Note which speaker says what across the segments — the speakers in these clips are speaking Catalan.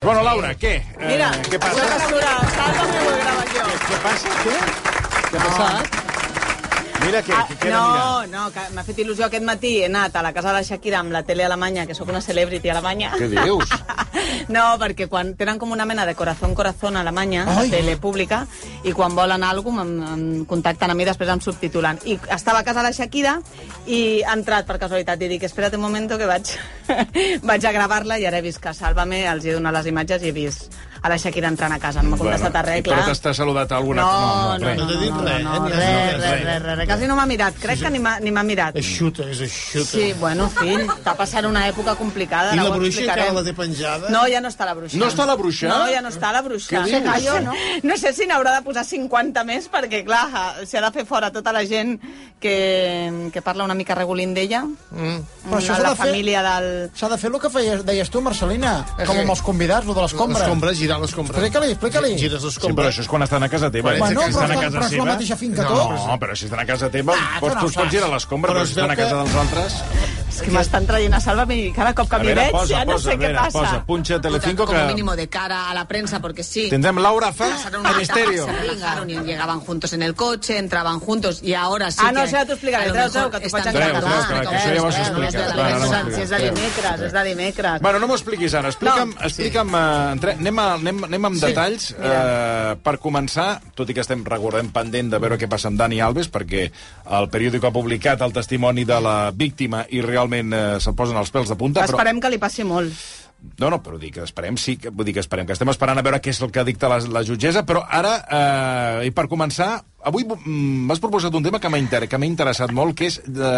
Speaker 1: Bueno, Laura, què? Eh,
Speaker 2: Mira,
Speaker 1: què
Speaker 2: Una
Speaker 1: passa?
Speaker 2: mesura, salva me lo grava jo. Ah,
Speaker 1: Què passa? Què? Què ha passat? Mira, que, que queda mirant.
Speaker 2: no, no, que m'ha fet il·lusió aquest matí. He anat a la casa de la Shakira amb la tele alemanya, que sóc una celebrity alemanya.
Speaker 1: Què dius?
Speaker 2: No, perquè quan tenen com una mena de corazón corazón a Alemanya,
Speaker 1: Ai.
Speaker 2: la tele pública, i quan volen alguna cosa em, em contacten a mi, després em subtitulen. I estava a casa de la Shakira i ha entrat per casualitat i dic, espera't un moment que vaig, vaig a gravar-la i ara he vist que Sálvame els he donat les imatges i he vist a la Shakira entrant a casa. No m'ha contestat bueno, res, clar.
Speaker 1: Però t'està saludat alguna...
Speaker 2: No, no,
Speaker 1: res.
Speaker 2: no, no,
Speaker 3: No t'he dit
Speaker 2: no,
Speaker 3: res,
Speaker 2: no,
Speaker 3: eh? Ni
Speaker 2: res,
Speaker 3: has
Speaker 2: res,
Speaker 3: dit
Speaker 2: res,
Speaker 3: res.
Speaker 2: res, res. Quasi no m'ha mirat, crec que ni m'ha ni m'ha mirat.
Speaker 3: És xuta, és xuta.
Speaker 2: Sí, bueno, fill, t'ha passat una època complicada.
Speaker 3: I
Speaker 2: ara
Speaker 3: la
Speaker 2: ho
Speaker 3: bruixa
Speaker 2: explicarem.
Speaker 3: encara la té penjada?
Speaker 2: No, ja no està la bruixa.
Speaker 1: No està la bruixa?
Speaker 2: No, ja no està la bruixa.
Speaker 1: Què dius?
Speaker 2: Callo, no? no sé si n'haurà de posar 50 més, perquè, clar, eh, s'ha de fer fora tota la gent que, que parla una mica regulint d'ella. Mm.
Speaker 4: Però això s'ha
Speaker 2: la
Speaker 4: de fer-
Speaker 2: família del...
Speaker 4: S'ha de fer el que feies, deies tu, Marcelina,
Speaker 3: Eh,
Speaker 4: com
Speaker 3: sí.
Speaker 4: amb els convidats, el de les compres.
Speaker 3: Les compres, girar les compres.
Speaker 4: Explica-li, explica-li.
Speaker 3: Gires les
Speaker 1: Sí, però
Speaker 3: compres.
Speaker 1: això és quan estan a casa teva.
Speaker 3: Bueno,
Speaker 1: Si
Speaker 3: però
Speaker 1: estan
Speaker 3: estan-
Speaker 1: a casa
Speaker 4: però és la
Speaker 1: seva-
Speaker 4: mateixa finca,
Speaker 1: no,
Speaker 4: tots.
Speaker 1: No, però si estan a casa teva,
Speaker 4: Ah,
Speaker 1: pots,
Speaker 4: tu no
Speaker 1: tu
Speaker 4: ho
Speaker 1: pots
Speaker 4: saps.
Speaker 1: girar les compres,
Speaker 3: Però
Speaker 1: però
Speaker 3: es
Speaker 1: si estan a
Speaker 3: veu que-
Speaker 1: casa dels altres...
Speaker 2: És que m'estan traient a salva i cada cop que m'hi veig
Speaker 1: posa,
Speaker 2: ja no
Speaker 1: posa,
Speaker 2: sé
Speaker 1: a
Speaker 2: què
Speaker 1: veure,
Speaker 2: passa.
Speaker 1: posa, punxa Telecinco
Speaker 5: Como
Speaker 1: que...
Speaker 5: mínimo de cara a la prensa, porque sí.
Speaker 1: Tendrem Laura Fa
Speaker 5: Pasaron
Speaker 1: a
Speaker 5: una
Speaker 1: Misterio.
Speaker 5: etapa, se relajaron y llegaban juntos en el coche, entraban juntos y ahora sí
Speaker 2: Ah, no,
Speaker 5: que
Speaker 2: això ja t'ho explicaré.
Speaker 5: a lo
Speaker 2: Treu,
Speaker 5: mejor
Speaker 2: treu, que t'ho faig
Speaker 5: estan
Speaker 2: encara.
Speaker 1: Treu, treu, que
Speaker 5: com
Speaker 1: això ja
Speaker 5: ells,
Speaker 1: ho has
Speaker 5: eh, els
Speaker 1: explicat.
Speaker 5: de la
Speaker 1: Va, ara
Speaker 5: prensa.
Speaker 1: ho
Speaker 2: Si és
Speaker 1: explico.
Speaker 2: de dimecres, és de dimecres.
Speaker 1: Bueno, no m'ho expliquis ara. Explica'm, no. explica'm eh, entre... anem, a, anem, anem amb sí. detalls. Eh, per començar, tot i que estem, recordem, pendent de veure què passa amb Dani Alves, perquè el periòdic ha publicat el testimoni de la víctima i realment eh, se'n posen els pèls de punta. Però...
Speaker 2: Esperem que li passi molt.
Speaker 1: No, no, però dic, esperem, sí, que, vull dir que esperem, que estem esperant a veure què és el que dicta la, la jutgessa, però ara, eh, i per començar, avui mm, m'has proposat un tema que m'ha inter que m'ha interessat molt, que és de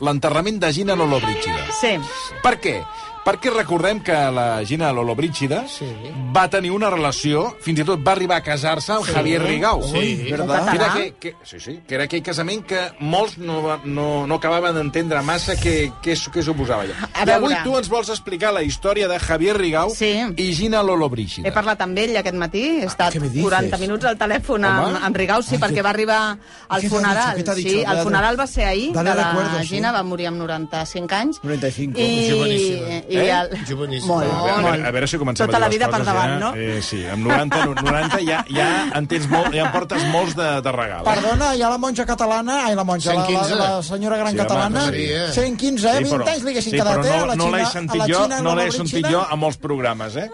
Speaker 1: l'enterrament de Gina Lollobrigida.
Speaker 2: Sí.
Speaker 1: Per què? Perquè recordem que la Gina Lollobrigida sí. va tenir una relació, fins i tot va arribar a casar-se amb sí. Javier Rigau.
Speaker 3: Sí.
Speaker 4: Verdad?
Speaker 1: Que era,
Speaker 2: Català?
Speaker 1: que, que, sí, sí, que era aquell casament que molts no, va- no, no acabaven d'entendre massa què, què, s- què suposava allò.
Speaker 2: A
Speaker 1: I avui
Speaker 2: veure.
Speaker 1: tu ens vols explicar la història de Javier Rigau
Speaker 2: Sí.
Speaker 1: i Gina Lollobrigida.
Speaker 2: He parlat amb ell aquest matí, he estat
Speaker 4: què me dices?
Speaker 2: 40 minuts al telèfon amb,
Speaker 1: Home.
Speaker 2: amb Rigau, sí, perquè va arribar al
Speaker 4: què t'ha
Speaker 2: funeral.
Speaker 4: dicho? ¿Qué t'ha
Speaker 2: sí,
Speaker 4: dicho?
Speaker 2: el
Speaker 4: Dale-
Speaker 2: funeral va ser ahir,
Speaker 4: dale
Speaker 2: de la
Speaker 4: recuerdos, sí.
Speaker 2: Gina, va morir amb 95 anys.
Speaker 4: 95,
Speaker 2: I,
Speaker 3: joveníssima.
Speaker 2: i
Speaker 1: Eh?
Speaker 2: el...
Speaker 3: Joveníssima.
Speaker 2: Molt,
Speaker 1: A veure, a
Speaker 2: molt.
Speaker 1: veure, a veure si comencem
Speaker 2: Tota
Speaker 1: a dir
Speaker 2: la
Speaker 1: les
Speaker 2: vida
Speaker 1: coses,
Speaker 2: per davant,
Speaker 1: ja.
Speaker 2: no?
Speaker 1: Eh, sí, amb 90, no- 90 ja, ja en tens molt, ja en portes molts de, de regal. eh?
Speaker 4: Perdona, hi ha la monja catalana, ai, la monja, la, la,
Speaker 3: 115.
Speaker 4: la senyora gran
Speaker 1: Sí, home,
Speaker 4: catalana,
Speaker 3: Maria.
Speaker 4: 115, eh? 20 anys li haguessin quedat, eh?
Speaker 1: però
Speaker 4: a
Speaker 1: no,
Speaker 4: la
Speaker 1: no l'he
Speaker 4: Xina-
Speaker 1: sentit
Speaker 4: a la
Speaker 1: jo,
Speaker 4: Xina,
Speaker 1: no
Speaker 4: a la
Speaker 1: l'he sentit
Speaker 4: Brixina.
Speaker 1: jo a molts programes, eh?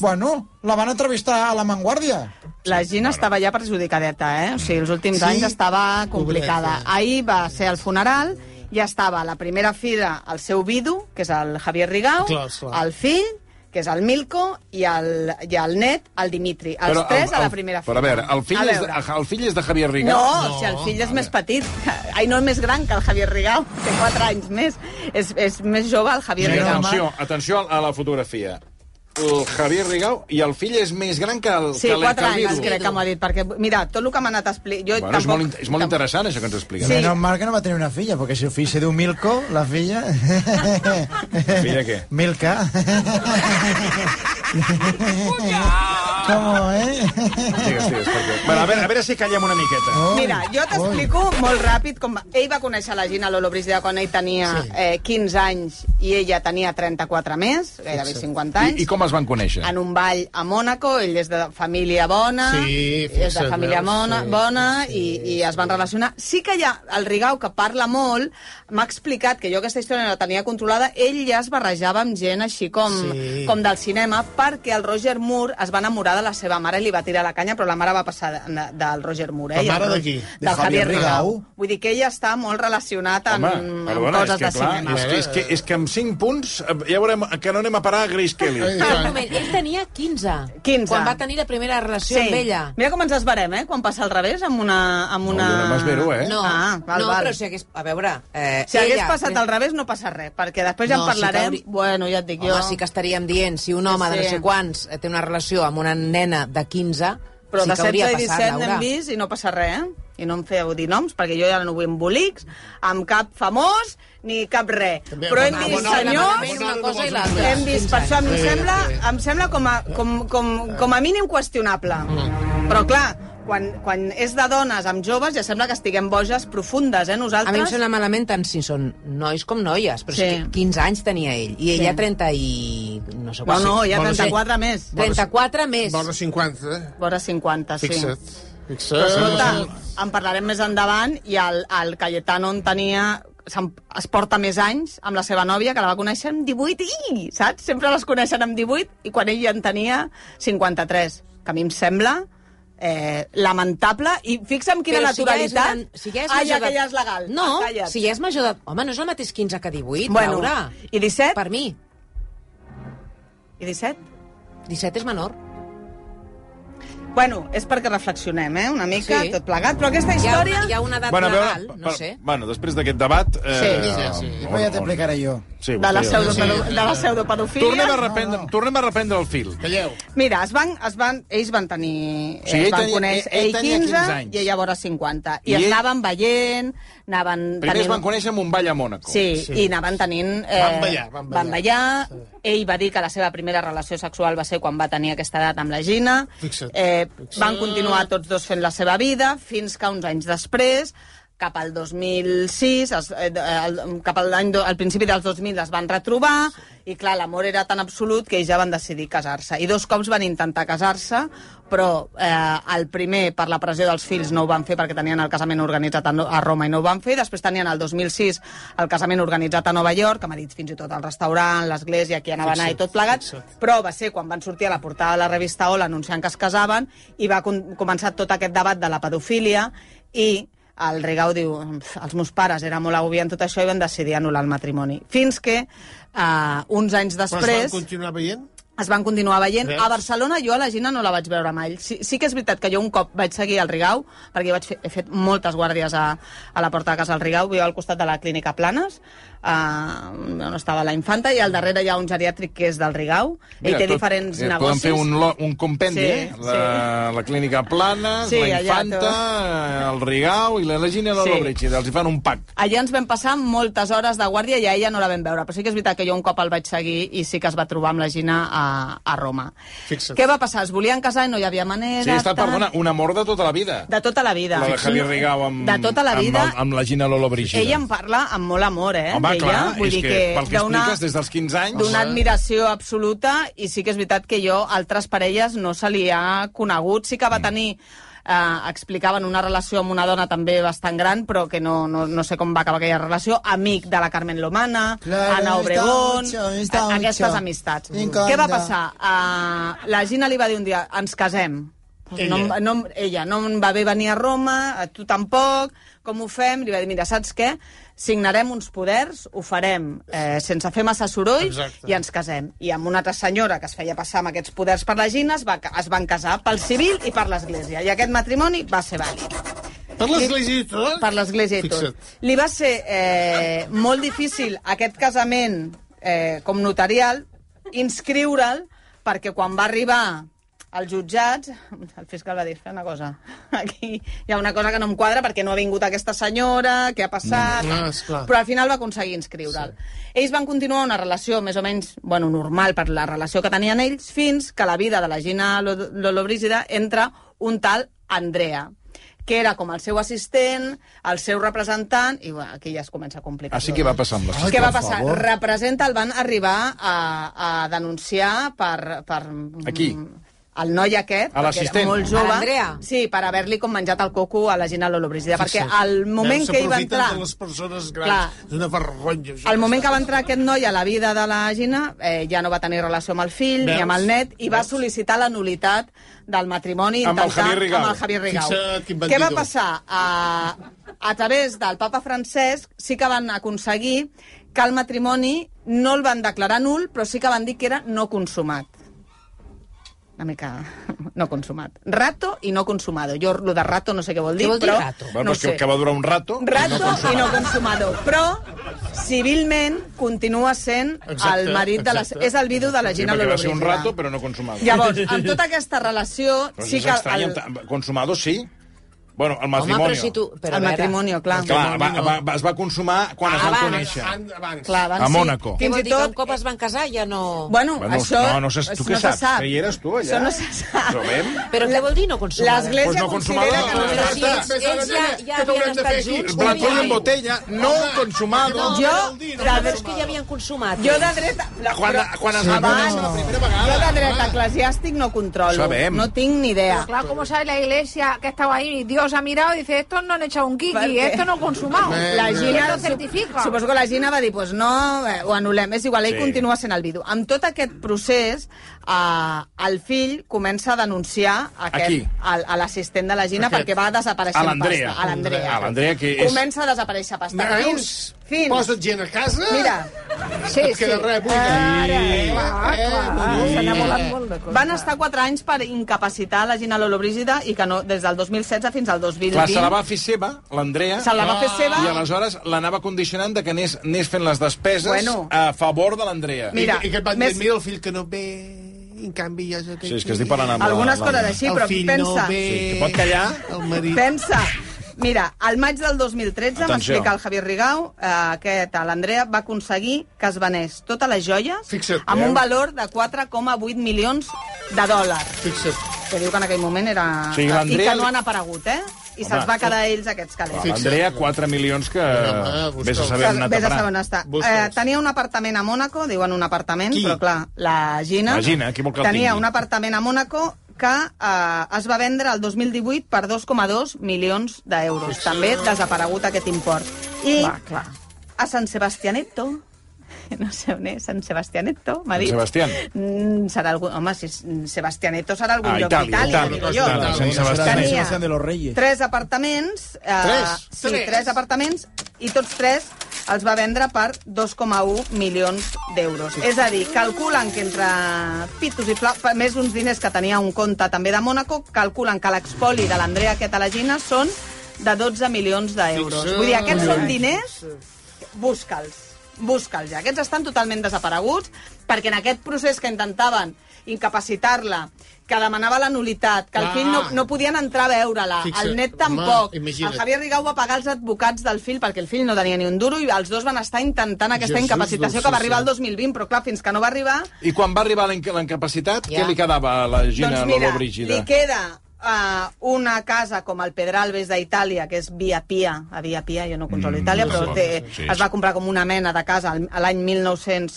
Speaker 4: Bueno, la van entrevistar a La Vanguardia.
Speaker 2: La Gina estava ja perjudicadeta, eh? O sigui, els últims
Speaker 4: Sí?
Speaker 2: anys estava complicada.
Speaker 1: eh?
Speaker 2: Ahir va ser el funeral, ja estava a la primera fila el seu vidu, que és el Javier Rigau,
Speaker 3: Clar, clar.
Speaker 2: el fill, que és el Milko, i el, i el net, el Dimitri. Els
Speaker 1: Però
Speaker 2: tres a
Speaker 1: el-
Speaker 2: la primera fila.
Speaker 1: Però a veure, el fill,
Speaker 2: A
Speaker 1: és,
Speaker 2: veure.
Speaker 1: de, el fill és de Javier Rigau?
Speaker 2: No, no, si el fill és més petit. Ai, no, més gran que el Javier Rigau. Té 4 anys més. És, és més jove el Javier
Speaker 1: Mira,
Speaker 2: Rigau.
Speaker 1: atenció, atenció a la fotografia. El Javier Rigau i el fill és més gran que el
Speaker 2: Sí,
Speaker 1: que el-
Speaker 2: 4
Speaker 1: que el
Speaker 2: anys
Speaker 1: vidu.
Speaker 2: crec que m'ho ha dit, perquè mira, tot el que m'ha anat a explicar... Jo
Speaker 1: Bueno, és,
Speaker 2: tampoc...
Speaker 1: molt, in- és molt
Speaker 2: tampoc-
Speaker 1: interessant això que ens expliques.
Speaker 2: Sí.
Speaker 1: Sí.
Speaker 4: Menos mal que no va tenir una filla, perquè si el fill se diu Milko, la filla...
Speaker 1: Filla què?
Speaker 4: Milka. ¿Cómo, eh?
Speaker 1: Digues, digues, perquè... bueno, a, veure, a veure si callem una miqueta.
Speaker 4: Oi,
Speaker 2: Mira, jo t'explico molt ràpid com va... Ell va conèixer la Gina Lollobrigida quan ell tenia eh, 15 anys i ella tenia 34 més, gairebé 50 anys.
Speaker 1: I, I com es van conèixer?
Speaker 2: en un ball a Mònaco, ell és de família bona,
Speaker 3: Sí,
Speaker 2: és de
Speaker 3: fixa't,
Speaker 2: família
Speaker 3: veus?
Speaker 2: mona,
Speaker 3: Sí,
Speaker 2: bona i, i es van relacionar. Sí que hi ha el Rigau, que parla molt, m'ha explicat que jo aquesta història no la tenia controlada, ell ja es barrejava amb gent així com, sí.
Speaker 3: Sí.
Speaker 2: com del cinema, perquè el Roger Moore es va enamorar de la seva mare i li va tirar la canya, però la mare va passar de, de, del Roger Moore. eh?
Speaker 3: La
Speaker 2: i el
Speaker 3: mare
Speaker 2: Ro-
Speaker 3: de qui?
Speaker 4: De
Speaker 2: Del Javier
Speaker 4: Javier Rigau.
Speaker 2: Rigau. Vull dir que ella està molt relacionat amb, amb
Speaker 1: és
Speaker 2: coses
Speaker 1: que,
Speaker 2: de cinema.
Speaker 1: és, que, és, que, és que amb 5 punts eh, ja veurem que no anem a parar a Grace Kelly.
Speaker 6: Però un moment, ell tenia 15,
Speaker 2: 15.
Speaker 6: quan va tenir la primera relació amb ella.
Speaker 2: Mira com ens esverem, eh? Quan passa al revés, amb una... Amb una...
Speaker 1: jo no m'esvero, eh?
Speaker 6: No,
Speaker 2: Ah, val,
Speaker 6: no
Speaker 2: val.
Speaker 6: però si hagués... A veure... Eh,
Speaker 2: Si hagués
Speaker 6: ella-
Speaker 2: passat al revés, no passa res, perquè després ja en
Speaker 6: No, sí que
Speaker 2: parlarem.
Speaker 6: hauria-
Speaker 2: Bueno, ja et dic
Speaker 6: Home,
Speaker 2: jo.
Speaker 6: sí que estaríem dient, si un home
Speaker 2: Sí,
Speaker 6: de no
Speaker 2: sí.
Speaker 6: sé quants eh, té una relació amb una nena de 15,
Speaker 2: Però
Speaker 6: sí
Speaker 2: de
Speaker 6: que hauria
Speaker 2: 16 i
Speaker 6: passat,
Speaker 2: 17
Speaker 6: Laura.
Speaker 2: n'hem vist i no passa res, eh? I no em feu dir noms, perquè jo ja no vull embolics, amb cap famós, ni cap res.
Speaker 3: També,
Speaker 2: Però hem
Speaker 3: bona-
Speaker 2: vist
Speaker 3: bona- bona-
Speaker 2: senyors...
Speaker 6: Una cosa i l'altra.
Speaker 2: Hem vist, per això em
Speaker 3: Sí,
Speaker 2: sembla,
Speaker 3: sí. Mm.
Speaker 2: em sembla com, a, com, com, com a mínim qüestionable. Però clar, quan, quan és de dones amb joves ja sembla que estiguem boges profundes, eh,
Speaker 6: A mi em
Speaker 2: nosaltres.
Speaker 6: sembla malament tant si són nois com noies, però sí.
Speaker 2: Sí.
Speaker 6: que 15 anys tenia ell, i ella
Speaker 2: Sí.
Speaker 6: 30 i... no sé
Speaker 2: No,
Speaker 6: quants.
Speaker 2: no, hi ha
Speaker 3: Bueno, sí.
Speaker 2: 34 més.
Speaker 6: 34 més.
Speaker 3: Bona 50,
Speaker 2: Vora 50, sí.
Speaker 3: fixa't. Fixa't.
Speaker 2: eh? Però escolta, en parlarem més endavant i el, el Cayetano en tenia se'n- es porta més anys amb la seva nòvia, que la va conèixer amb 18, i, saps? Sempre les coneixen amb 18, i quan ell ja en tenia 53, que a mi em sembla eh, lamentable, i fixa'm quina
Speaker 6: Però
Speaker 2: naturalitat...
Speaker 6: Si ja és, gran- si ja és
Speaker 2: Ai,
Speaker 6: major
Speaker 2: ja que ja és legal.
Speaker 6: No,
Speaker 2: Ah, calla't.
Speaker 6: si ja és major de... Home, no és el mateix 15 que 18,
Speaker 2: Bueno,
Speaker 6: Laura.
Speaker 2: i 17?
Speaker 6: Per mi.
Speaker 2: I 17?
Speaker 6: 17 és menor.
Speaker 2: Bueno, és perquè reflexionem, eh?, una mica,
Speaker 6: Sí.
Speaker 2: tot plegat, però aquesta
Speaker 6: Hi ha una,
Speaker 2: història...
Speaker 6: hi ha una edat
Speaker 1: Bueno, a veure,
Speaker 6: legal, no
Speaker 1: per-
Speaker 6: sé.
Speaker 1: Bueno, després d'aquest debat... Eh,
Speaker 2: Sí,
Speaker 3: sí, sí.
Speaker 4: Després ja t'explicaré jo.
Speaker 1: Sí,
Speaker 2: de la,
Speaker 1: vostè-
Speaker 2: pseudopedo... de la pseudopedofília...
Speaker 1: Tornem a, reprendre, tornem a reprendre el fil.
Speaker 3: Calleu.
Speaker 2: Mira, es van, es van, ells van tenir...
Speaker 1: O sigui,
Speaker 2: es
Speaker 1: ell
Speaker 2: van
Speaker 1: tenia-
Speaker 2: conèixer,
Speaker 1: ell
Speaker 2: ell,
Speaker 1: tenia
Speaker 2: 15,
Speaker 1: 15 anys.
Speaker 2: i ella vora 50. I,
Speaker 1: I
Speaker 2: I es
Speaker 1: ell-
Speaker 2: anaven veient, anaven...
Speaker 1: Primer es van conèixer amb un ball a Mònaco.
Speaker 2: Sí, sí, i anaven tenint... Eh,
Speaker 3: Van ballar, van ballar.
Speaker 2: Van ballar. Ell va dir que la seva primera relació sexual va ser quan va tenir aquesta edat amb la Gina.
Speaker 3: Fixa't.
Speaker 2: Eh, van continuar tots dos fent la seva vida fins que uns anys després cap al 2006, es, eh, el, cap al, any, do- al principi dels 2000 es van retrobar, i clar, l'amor era tan absolut que ells ja van decidir casar-se. I dos cops van intentar casar-se, però eh, el primer, per la pressió dels fills, no ho van fer perquè tenien el casament organitzat a No- a Roma i no ho van fer. Després tenien el 2006 el casament organitzat a Nova York, amb dit fins i tot el restaurant, l'església, qui anava a anar i tot plegat. Però va ser quan van sortir a la portada de la revista Hola anunciant que es casaven i va com començar tot aquest debat de la pedofília i el Rigau diu, "Pf, els meus pares eren molt agobiant tot això i van decidir anul·lar el matrimoni. Fins que, eh, uns anys
Speaker 3: Però es van
Speaker 2: després,
Speaker 3: continuar veient?
Speaker 2: es van continuar veient.
Speaker 3: Veus?
Speaker 2: A Barcelona jo a la Gina no la vaig veure mai. Sí, sí que és veritat que jo un cop vaig seguir al Rigau, perquè jo vaig fer, he fet moltes guàrdies a, a la porta de casa del Rigau, viu al costat de la clínica Planes, eh, on estava la infanta, i al darrere hi ha un geriàtric que és del Rigau. Ell té
Speaker 1: tot-
Speaker 2: diferents
Speaker 1: eh, Podem
Speaker 2: negocis.
Speaker 1: fer un, lo- un compendi,
Speaker 2: Sí,
Speaker 1: eh? La, la clínica Planes,
Speaker 2: Sí,
Speaker 1: la
Speaker 2: allà
Speaker 1: Infanta, el Rigau i la Legina de
Speaker 2: Sí.
Speaker 1: l'Obretxi. Els hi fan un pack.
Speaker 2: Allà ens vam passar moltes hores de guàrdia i a ella no la vam veure, però sí que és veritat que jo un cop el vaig seguir i sí que es va trobar amb la Gina a, a Roma.
Speaker 3: Fixa't.
Speaker 2: Què va passar? Es volien casar i no hi havia manera...
Speaker 1: Sí, ha estat,
Speaker 2: tal.
Speaker 1: perdona, un amor de tota la vida.
Speaker 2: De tota la vida.
Speaker 1: La de Javier Rigau amb,
Speaker 2: De tota la vida.
Speaker 1: amb, el- amb la Gina Lolo Brigida.
Speaker 2: Ella en parla amb molt amor, eh?
Speaker 1: Home,
Speaker 2: d'ella.
Speaker 1: clar,
Speaker 2: Vull
Speaker 1: és
Speaker 2: dir
Speaker 1: que, pel que
Speaker 2: d'una-
Speaker 1: expliques, des dels 15 anys...
Speaker 2: d'una admiració absoluta i sí que és veritat que jo a altres parelles no se li ha conegut. Sí que
Speaker 4: Mm.
Speaker 2: va tenir eh, explicaven una relació amb una dona també bastant gran, però que no, no, no sé com va acabar aquella relació, amic de la Carmen Lomana,
Speaker 4: Claro,
Speaker 2: Ana
Speaker 4: está
Speaker 2: Obregón,
Speaker 4: mucho, está
Speaker 2: a- aquestes
Speaker 4: mucho.
Speaker 2: amistats.
Speaker 4: En contra.
Speaker 2: Què va passar? Uh, la Gina li va dir un dia, ens casem. Ella. No, em- no, em- ella no em va bé venir a Roma, a tu tampoc, com ho fem? Li va dir, mira, saps què? Signarem uns poders, ho farem eh, sense fer massa soroll
Speaker 3: Exacte.
Speaker 2: i ens casem. I amb una altra senyora que es feia passar amb aquests poders per la Gina es, va, ca- es van casar pel civil i per l'església. I aquest matrimoni va ser vàlid
Speaker 3: Per l'església i tot?
Speaker 2: per l'església i tot.
Speaker 3: Fixa't.
Speaker 2: Li va ser eh, molt difícil aquest casament eh, com notarial, inscriure'l, perquè quan va arribar als jutjats, el fiscal va dir, fes una cosa, aquí hi ha una cosa que no em quadra perquè no ha vingut aquesta senyora, què ha passat...
Speaker 3: No, esclar.
Speaker 2: Però al final va aconseguir inscriure'l. Sí. Ells van continuar una relació més o menys bueno, normal per la relació que tenien ells, fins que a la vida de la Gina Lo- Lollobrigida entra un tal Andrea, que era com el seu assistent, el seu representant, i bueno, aquí ja es comença a complicar.
Speaker 1: Així
Speaker 2: tot.
Speaker 1: Ah, que va passar amb la
Speaker 4: Ai,
Speaker 2: Què
Speaker 4: per
Speaker 2: va passar?
Speaker 4: favor.
Speaker 2: Representa el van arribar a, a denunciar per... per
Speaker 1: Aquí.
Speaker 2: el noi aquest,
Speaker 1: A
Speaker 2: perquè
Speaker 1: l'assistent.
Speaker 2: era molt jove,
Speaker 6: A l'Andrea?
Speaker 2: sí, per haver-li com menjat el coco a la Gina Lollobrigida, perquè al moment que hi va entrar...
Speaker 3: S'aprofiten de les persones
Speaker 2: Clar.
Speaker 3: grans. És una vergonya. això.
Speaker 2: Al moment que va entrar aquest noi a la vida de la Gina, eh, ja no va tenir relació amb el fill Veus?
Speaker 3: Veus?
Speaker 2: ni amb el net i va sol·licitar la nulitat del matrimoni
Speaker 1: Amb el
Speaker 2: intentant-
Speaker 1: Javier Rigau.
Speaker 2: Amb el Javier Rigau.
Speaker 3: Fixa't, quin
Speaker 2: Què va
Speaker 3: bandido.
Speaker 2: passar? A, a través del papa Francesc sí que van aconseguir que el matrimoni no el van declarar nul, però sí que van dir que era no consumat una mica no consumat. Rato i no consumado. Jo lo de rato no sé què vol dir,
Speaker 6: Què vol dir
Speaker 2: però...
Speaker 6: rato?
Speaker 1: Bueno,
Speaker 2: no
Speaker 1: és que,
Speaker 2: sé.
Speaker 1: que va durar un rato...
Speaker 2: Rato i no consumado. Però, civilment, continua sent
Speaker 3: Exacte,
Speaker 2: el marit de la...
Speaker 3: exacte.
Speaker 2: És el vidu de la
Speaker 1: Sí,
Speaker 2: Gina
Speaker 1: perquè va ser
Speaker 2: Lollobrigida.
Speaker 1: un rato, però no consumado.
Speaker 2: Llavors, amb tota aquesta relació,
Speaker 1: Però
Speaker 2: sí
Speaker 1: és
Speaker 2: que...
Speaker 1: estrany,
Speaker 2: El,
Speaker 1: amb ta- Consumado, sí. Bueno, el
Speaker 6: Home,
Speaker 1: matrimonio.
Speaker 6: però si tu...
Speaker 2: El
Speaker 6: Però a veure,
Speaker 2: matrimoni, clar.
Speaker 1: Clar, va, va, va, es va consumar quan
Speaker 2: Ah,
Speaker 1: es van
Speaker 6: Abans.
Speaker 1: conèixer.
Speaker 3: Abans, abans.
Speaker 2: Clar, abans
Speaker 1: A
Speaker 2: sí.
Speaker 1: Mònaco.
Speaker 6: Ah, Què
Speaker 2: Fins
Speaker 6: vol
Speaker 2: i
Speaker 6: dir, que
Speaker 2: tot-
Speaker 6: un cop es van casar ja no...
Speaker 2: Bueno,
Speaker 1: Bueno,
Speaker 2: això...
Speaker 1: no, no sé, tu què
Speaker 2: no se
Speaker 1: saps?
Speaker 2: Sap.
Speaker 1: Que hi eres tu, allà?
Speaker 2: Això no se sap.
Speaker 1: Ho sabem?
Speaker 6: Però què vol dir no consumada?
Speaker 2: L'Església
Speaker 1: Pues Doncs no
Speaker 2: considera
Speaker 1: consumada,
Speaker 2: que no
Speaker 1: eh?
Speaker 6: Però
Speaker 2: era
Speaker 6: si
Speaker 2: així.
Speaker 6: ells, ells ja, ja
Speaker 3: Què
Speaker 6: havien
Speaker 3: t'haurem de
Speaker 6: estat
Speaker 3: fer aquí?
Speaker 6: junts...
Speaker 1: Blanco
Speaker 6: no hi
Speaker 1: en
Speaker 6: ha-
Speaker 1: botella, no consumado.
Speaker 6: No,
Speaker 2: Jo,
Speaker 6: però-
Speaker 2: la-
Speaker 6: però és que ja havien consumat.
Speaker 2: Jo de dret... La,
Speaker 1: Quan, quan es va conèixer la primera vegada.
Speaker 2: jo de dret eclesiàstic no controlo.
Speaker 1: Sabem.
Speaker 2: No tinc ni idea.
Speaker 7: Pero claro, como sabe la iglesia que estaba ahí, Dios ha mirado y dice, estos no han echado un
Speaker 2: ¿Por
Speaker 7: kiki,
Speaker 2: qué?
Speaker 7: esto no ha consumado.
Speaker 2: La Gina
Speaker 7: lo certifica.
Speaker 2: Suposo que la Gina va dir, pues no, eh, ho anul·lem. És igual, ell
Speaker 1: Sí.
Speaker 2: sí. continua sent el vidu. Amb tot aquest procés, eh, el fill comença a denunciar aquest,
Speaker 1: Aquí.
Speaker 2: al- a l'assistent de la Gina
Speaker 1: Aquest.
Speaker 2: perquè va desapareixent
Speaker 1: A l'Andrea.
Speaker 2: pasta. A l'Andrea.
Speaker 1: A l'Andrea, que és-
Speaker 2: Comença a desaparèixer pasta.
Speaker 3: Veus?
Speaker 2: Fins, fins.
Speaker 3: Posa't gent a casa...
Speaker 2: Mira,
Speaker 7: Sí, Ah,
Speaker 3: Et queda res, buida.
Speaker 7: Ara,
Speaker 3: Sí.
Speaker 7: clar,
Speaker 3: Eh,
Speaker 7: clar.
Speaker 3: vull dir-
Speaker 7: S'ha enamorat molt de coses.
Speaker 2: van estar 4 anys per incapacitar la Gina Lollobrigida i que no, des del 2016 fins al 2020...
Speaker 1: Clar, se la va fer seva, l'Andrea.
Speaker 2: se la va fer seva...
Speaker 1: I aleshores l'anava condicionant de que anés, anés fent les despeses
Speaker 2: Bueno.
Speaker 1: a favor de l'Andrea.
Speaker 2: Mira,
Speaker 3: I, I que et van
Speaker 2: més-
Speaker 3: dir, mira el fill que no ve, i en canvi jo...
Speaker 1: Sí, és que estic parlant amb
Speaker 2: Algunes
Speaker 1: la- la-
Speaker 2: coses així,
Speaker 3: el
Speaker 2: però
Speaker 3: fill
Speaker 2: pensa...
Speaker 3: no ve...
Speaker 1: Sí, que pot callar.
Speaker 3: El marit...
Speaker 2: Pensa, mira, al maig del 2013
Speaker 1: Atenció.
Speaker 2: m'explica el Javier Rigau eh, aquest, l'Andrea va aconseguir que es venés totes les joies
Speaker 3: Fixa't,
Speaker 2: amb
Speaker 3: veus?
Speaker 1: eh?
Speaker 2: un valor de 4,8 milions de dòlars.
Speaker 3: Fixa't.
Speaker 2: Que diu que en aquell moment era...
Speaker 1: Sí,
Speaker 2: I
Speaker 1: l'Andrea-
Speaker 2: que no han aparegut, eh? I
Speaker 1: Home,
Speaker 2: se'ls va quedar a ells aquests calés.
Speaker 1: Clar, L'Andrea, 4 milions que...
Speaker 3: Home, busca-
Speaker 1: Vés a saber on ha
Speaker 2: Vés a
Speaker 1: parat.
Speaker 2: saber on està. Eh,
Speaker 3: Busca'ls.
Speaker 2: tenia un apartament a Mònaco, diuen un apartament,
Speaker 1: Qui?
Speaker 2: però clar, la Gina,
Speaker 1: La Gina, qui vol que el
Speaker 2: tenia
Speaker 1: tingui?
Speaker 2: un apartament a Mònaco que eh, es va vendre el 2018 per 2,2 milions d'euros. També desaparegut aquest import. I
Speaker 7: Va, clar.
Speaker 2: a San Sebastianetto, no sé on és, San Sebastianetto, m'ha
Speaker 1: San
Speaker 2: dit.
Speaker 1: Sebastián.
Speaker 2: Mm, serà algun... Home, si és- Sebastianetto serà algun
Speaker 1: Ah,
Speaker 2: lloc
Speaker 1: Itàlia,
Speaker 2: d'Itàlia,
Speaker 1: Itàlia,
Speaker 2: digo jo.
Speaker 1: Itàlia, Sant Sebastián.
Speaker 2: Tenia-
Speaker 4: Sebastián de los Reyes.
Speaker 2: Tres apartaments. Eh,
Speaker 3: Tres?
Speaker 2: Sí,
Speaker 3: Tres.
Speaker 2: tres. apartaments, i tots tres els va vendre per 2,1 milions d'euros. És a dir, calculen que entre pitos i flaus, més uns diners que tenia un compte també de Mònaco, calculen que l'expoli de l'Andrea aquest a la Gina són de 12 milions d'euros.
Speaker 3: Fixa't.
Speaker 2: Vull dir, aquests són diners... Busca'ls. Busca'ls ja. Aquests estan totalment desapareguts perquè en aquest procés que intentaven incapacitar-la, que demanava la nulitat, que el
Speaker 3: Clar.
Speaker 2: fill no, no podien entrar a veure-la,
Speaker 3: Fixa't.
Speaker 2: el net
Speaker 3: Home,
Speaker 2: tampoc.
Speaker 3: imagina't.
Speaker 2: el Javier Rigau va pagar els advocats del fill perquè el fill no tenia ni un duro i els dos van estar intentant aquesta
Speaker 3: Jesús
Speaker 2: incapacitació que va arribar el
Speaker 3: dulcíssim.
Speaker 2: 2020, però clar, fins que no va arribar,
Speaker 1: I quan va arribar la inca- la incapacitat,
Speaker 6: Ja.
Speaker 1: què li quedava a la Gina
Speaker 2: doncs mira,
Speaker 1: Lollobrigida?
Speaker 2: li queda uh, una casa com el Pedralbes d'Itàlia, que és Via Pia, a Via Pia, jo no controlo
Speaker 1: Mm,
Speaker 2: Itàlia, però
Speaker 1: sí,
Speaker 2: té,
Speaker 1: sí, sí.
Speaker 2: es va comprar com una mena de casa al- a l'any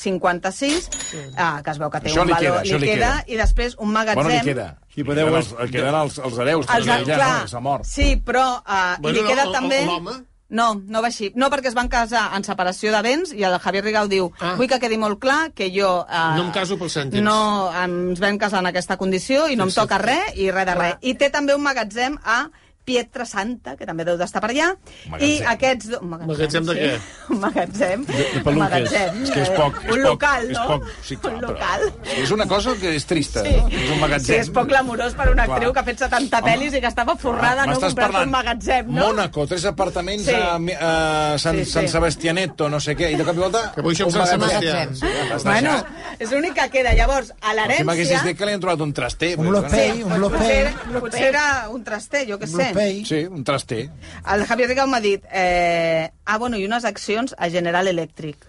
Speaker 2: 1956, uh, que es veu que té
Speaker 1: Això
Speaker 2: un
Speaker 1: li
Speaker 2: valor,
Speaker 1: queda, això li queda.
Speaker 2: i després un magatzem...
Speaker 1: Bueno, li queda.
Speaker 4: Sí,
Speaker 1: Li
Speaker 4: però deu-
Speaker 1: queden els, li queden els, els hereus.
Speaker 2: Els,
Speaker 1: també, ja,
Speaker 2: clar,
Speaker 1: no, s'ha mort.
Speaker 2: Sí, però uh,
Speaker 3: Bueno,
Speaker 2: li queda
Speaker 3: no, o-
Speaker 2: també...
Speaker 3: o l'home?
Speaker 2: No, no va així. No, perquè es van casar en separació de béns i el Javier Rigau diu
Speaker 3: Ah.
Speaker 2: ah. vull que quedi molt clar que jo... Eh,
Speaker 3: No em caso pels cèntims."
Speaker 2: No, ens vam casar en aquesta condició i no em
Speaker 3: Fixa't.
Speaker 2: toca res i res de res. I té també un magatzem a Pietra Santa, que també deu d'estar per allà,
Speaker 1: Magatzem.
Speaker 2: i aquests... Do... Un
Speaker 3: Magatzem de què?
Speaker 2: Un magatzem. De,
Speaker 4: de peluques.
Speaker 1: És que és poc.
Speaker 2: eh,
Speaker 1: És
Speaker 2: Un
Speaker 1: poc,
Speaker 2: local,
Speaker 1: és
Speaker 2: no?
Speaker 1: poc, sí, clar,
Speaker 2: un
Speaker 1: però-
Speaker 2: local.
Speaker 1: És una cosa que és trista, sí. no? És un
Speaker 2: Sí,
Speaker 1: magatzem.
Speaker 2: és poc glamurós per una
Speaker 1: Clar.
Speaker 2: actriu que ha fet 70
Speaker 1: Home,
Speaker 2: pel·lis i que estava forrada no
Speaker 1: M'estàs
Speaker 2: comprar
Speaker 1: parlant
Speaker 2: un magatzem, no?
Speaker 1: Mònaco, tres apartaments
Speaker 2: Sí.
Speaker 1: a, mi- a San,
Speaker 2: Sí, sí.
Speaker 1: San Sebastianetto, no sé què, i de cop i volta...
Speaker 3: Que vull ser
Speaker 1: un
Speaker 3: amb Sant
Speaker 1: magatzem.
Speaker 3: Sebastià.
Speaker 6: magatzem.
Speaker 1: Està
Speaker 2: Bueno,
Speaker 1: ja.
Speaker 2: és l'únic que queda. Llavors, a
Speaker 1: Si
Speaker 2: l'herència...
Speaker 1: m'haguessis dit que li han trobat un traster...
Speaker 4: Un
Speaker 1: doncs,
Speaker 4: lopell,
Speaker 1: bueno.
Speaker 4: un lopell,
Speaker 2: Potser, potser era un traster, jo què
Speaker 4: un
Speaker 2: sé.
Speaker 4: lopell.
Speaker 1: Sí, un traster.
Speaker 2: El Javier Rigau m'ha dit... Eh, ah, bueno, i unes accions a General Electric.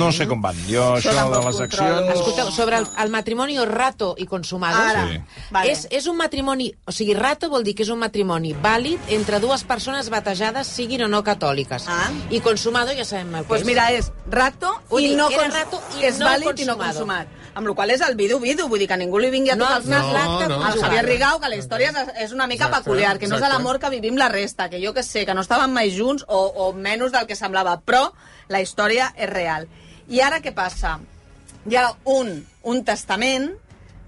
Speaker 1: No sé com van. Jo,
Speaker 2: Això
Speaker 1: això, de
Speaker 2: tampoc
Speaker 1: les
Speaker 2: controlo.
Speaker 1: accions...
Speaker 6: Escolteu, sobre el, el matrimoni rato i consumado,
Speaker 2: Ara,
Speaker 1: Sí.
Speaker 2: vale.
Speaker 6: és, és un matrimoni... O sigui, rato vol dir que és un matrimoni vàlid entre dues persones batejades, siguin o no catòliques.
Speaker 2: Ah.
Speaker 6: I consumado ja sabem el que
Speaker 2: Pues
Speaker 6: és.
Speaker 2: mira, és rato
Speaker 6: Vull
Speaker 2: i
Speaker 6: dir,
Speaker 2: no,
Speaker 6: era
Speaker 2: cons-
Speaker 6: rato i
Speaker 2: és
Speaker 6: no
Speaker 2: vàlid i no
Speaker 6: consumado.
Speaker 2: consumat. Amb la qual cosa és el vidu-vidu, vull dir que ningú li vingui a
Speaker 6: no,
Speaker 2: tocar els
Speaker 6: els no,
Speaker 2: nas
Speaker 6: l'acte
Speaker 3: no,
Speaker 6: no,
Speaker 2: al Javier Rigau, que la història és, és una mica
Speaker 3: Exacte,
Speaker 2: peculiar, que no és
Speaker 3: exacte.
Speaker 2: l'amor que vivim la resta, que jo que sé, que no estaven mai junts o, o menys del que semblava, però la història és real. I ara què passa? Hi ha un, un testament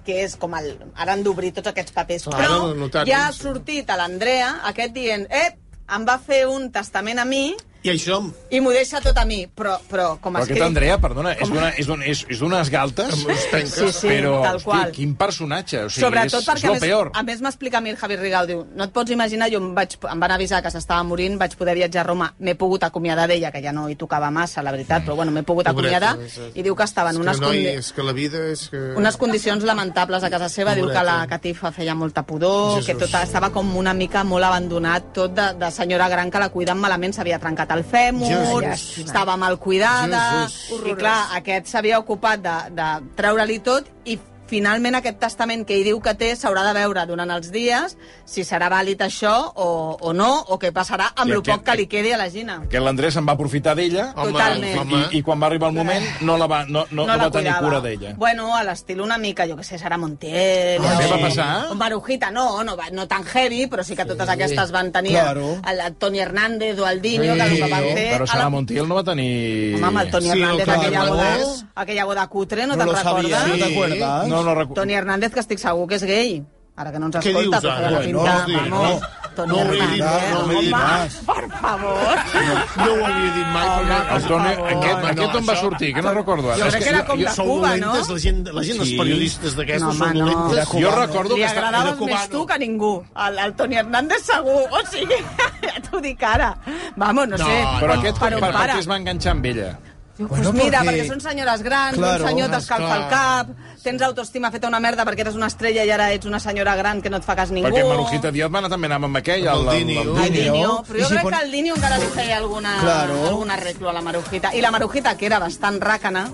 Speaker 2: que és com el... Ara han d'obrir tots aquests papers.
Speaker 3: Clar,
Speaker 2: però
Speaker 3: ara el notari,
Speaker 2: ja ha
Speaker 3: sí.
Speaker 2: sortit a l'Andrea aquest dient, eh, em va fer un testament a mi
Speaker 3: I I això...
Speaker 2: I m'ho deixa tot a mi, però, però com
Speaker 1: Però
Speaker 2: escric...
Speaker 1: aquest Andrea, perdona, és d'una- és d'un- és- és d'unes galtes,
Speaker 2: Sí, sí,
Speaker 1: però,
Speaker 2: tal qual.
Speaker 1: hosti, quin personatge, o sigui,
Speaker 2: Sobretot
Speaker 1: és,
Speaker 2: perquè,
Speaker 1: és
Speaker 2: a
Speaker 1: lo
Speaker 2: més,
Speaker 1: peor.
Speaker 2: a més m'explica a mi el Javier Rigau, diu, no et pots imaginar, jo em, vaig, em van avisar que s'estava morint, vaig poder viatjar a Roma, m'he pogut acomiadar d'ella, que ja no hi tocava massa, la veritat, però bueno, m'he pogut
Speaker 3: Pobreta,
Speaker 2: acomiadar,
Speaker 3: és-
Speaker 2: i diu que estava en
Speaker 3: és
Speaker 2: unes,
Speaker 3: que, noi,
Speaker 2: condi
Speaker 3: és que la vida és que...
Speaker 2: unes condicions lamentables a casa seva, diu que la catifa feia molta pudor,
Speaker 3: Jesús.
Speaker 2: que tot estava com una mica molt abandonat, tot de, de senyora gran que la cuidaven malament, s'havia trencat el fèmur,
Speaker 3: Jesús.
Speaker 2: estava mal cuidada,
Speaker 3: Jesús.
Speaker 2: i clar, aquest s'havia ocupat de, de treure-li tot i finalment aquest testament que hi diu que té s'haurà de veure durant els dies si serà vàlid això o, o no, o què passarà amb
Speaker 1: I
Speaker 2: el
Speaker 1: aquest-
Speaker 2: poc que li quedi a la Gina.
Speaker 1: Que l'Andrés se'n va aprofitar d'ella
Speaker 3: Home,
Speaker 2: Totalment.
Speaker 1: i,
Speaker 3: home.
Speaker 1: i quan va arribar el moment no, la va, no, no, no, va
Speaker 2: la
Speaker 1: tenir
Speaker 2: cuidava.
Speaker 1: cura d'ella.
Speaker 2: Bueno, a l'estil una mica, jo que sé, Sara Montiel...
Speaker 1: Ah,
Speaker 2: o-
Speaker 1: què va passar?
Speaker 2: o Marujita, no, no, va- no tan heavy, però sí que totes aquestes van tenir
Speaker 4: Claro.
Speaker 2: el, el Toni Hernández o el Dinyo, que el que van fer...
Speaker 1: Però
Speaker 2: a la-
Speaker 1: Sara Montiel no va tenir...
Speaker 2: Home, amb el Toni
Speaker 3: Sí, el
Speaker 2: Hernández,
Speaker 3: Toni
Speaker 2: aquella, boda,
Speaker 3: Hernández.
Speaker 2: aquella boda cutre, no,
Speaker 4: No
Speaker 2: te'n
Speaker 4: lo sabía,
Speaker 2: recordes?
Speaker 4: ¿no te
Speaker 3: Sí.
Speaker 4: acuerdas?
Speaker 1: No, no recu...
Speaker 2: Toni Hernández, que estic segur que és gay. Ara que no ens
Speaker 3: Què
Speaker 2: escolta,
Speaker 3: dius,
Speaker 2: però
Speaker 3: ara?
Speaker 2: té la
Speaker 3: Bueno,
Speaker 2: pinta,
Speaker 3: no, sí,
Speaker 2: vamos,
Speaker 3: no.
Speaker 2: Toni
Speaker 3: No ho he dit,
Speaker 2: Hernández,
Speaker 3: no, no ho he dit
Speaker 2: home,
Speaker 4: más.
Speaker 2: per favor.
Speaker 3: No ho havia dit mai.
Speaker 2: Home,
Speaker 3: perquè-
Speaker 1: El Toni... Aquest,
Speaker 3: Home,
Speaker 1: aquest
Speaker 3: no,
Speaker 1: on va
Speaker 3: això-
Speaker 1: sortir? Que no recordo
Speaker 2: Jo
Speaker 1: ara.
Speaker 2: crec que era com de
Speaker 3: Sou
Speaker 2: Cuba, no?
Speaker 3: dolentes, la gent, la gent, els
Speaker 1: Sí.
Speaker 3: periodistes
Speaker 2: No,
Speaker 3: d'aquestos
Speaker 2: home,
Speaker 3: són
Speaker 2: no.
Speaker 3: dolentes.
Speaker 4: Era
Speaker 1: Jo
Speaker 4: cubano.
Speaker 1: recordo
Speaker 2: Li
Speaker 1: que... està-
Speaker 2: agradaves
Speaker 3: era
Speaker 2: més
Speaker 3: cubano.
Speaker 2: tu que ningú. El, el Toni Hernández segur. O sigui, ja t'ho dic ara. Vamos, no,
Speaker 3: No,
Speaker 2: sé.
Speaker 3: no.
Speaker 1: Però aquest per,
Speaker 2: Però,
Speaker 1: per,
Speaker 2: pare,
Speaker 1: perquè es va enganxar amb ella.
Speaker 2: Pues mira, perquè són senyores grans,
Speaker 4: Claro,
Speaker 2: un senyor t'escalfa el
Speaker 3: esclar.
Speaker 2: cap, tens autoestima feta una merda perquè eres una estrella i ara ets una senyora gran que no et fa cas ningú.
Speaker 1: Perquè Marujita Díaz va anar també anava amb aquell, el,
Speaker 3: Amb el
Speaker 1: el,
Speaker 3: Dini.
Speaker 1: el,
Speaker 2: Al
Speaker 1: Dini.
Speaker 4: Dini.
Speaker 2: Dinio, però
Speaker 4: I
Speaker 2: jo
Speaker 4: si
Speaker 2: crec
Speaker 4: pon-
Speaker 2: que al Dinio encara li feia alguna,
Speaker 4: Claro.
Speaker 2: algun arreglo a la Marujita. I la Marujita, que era bastant ràcana,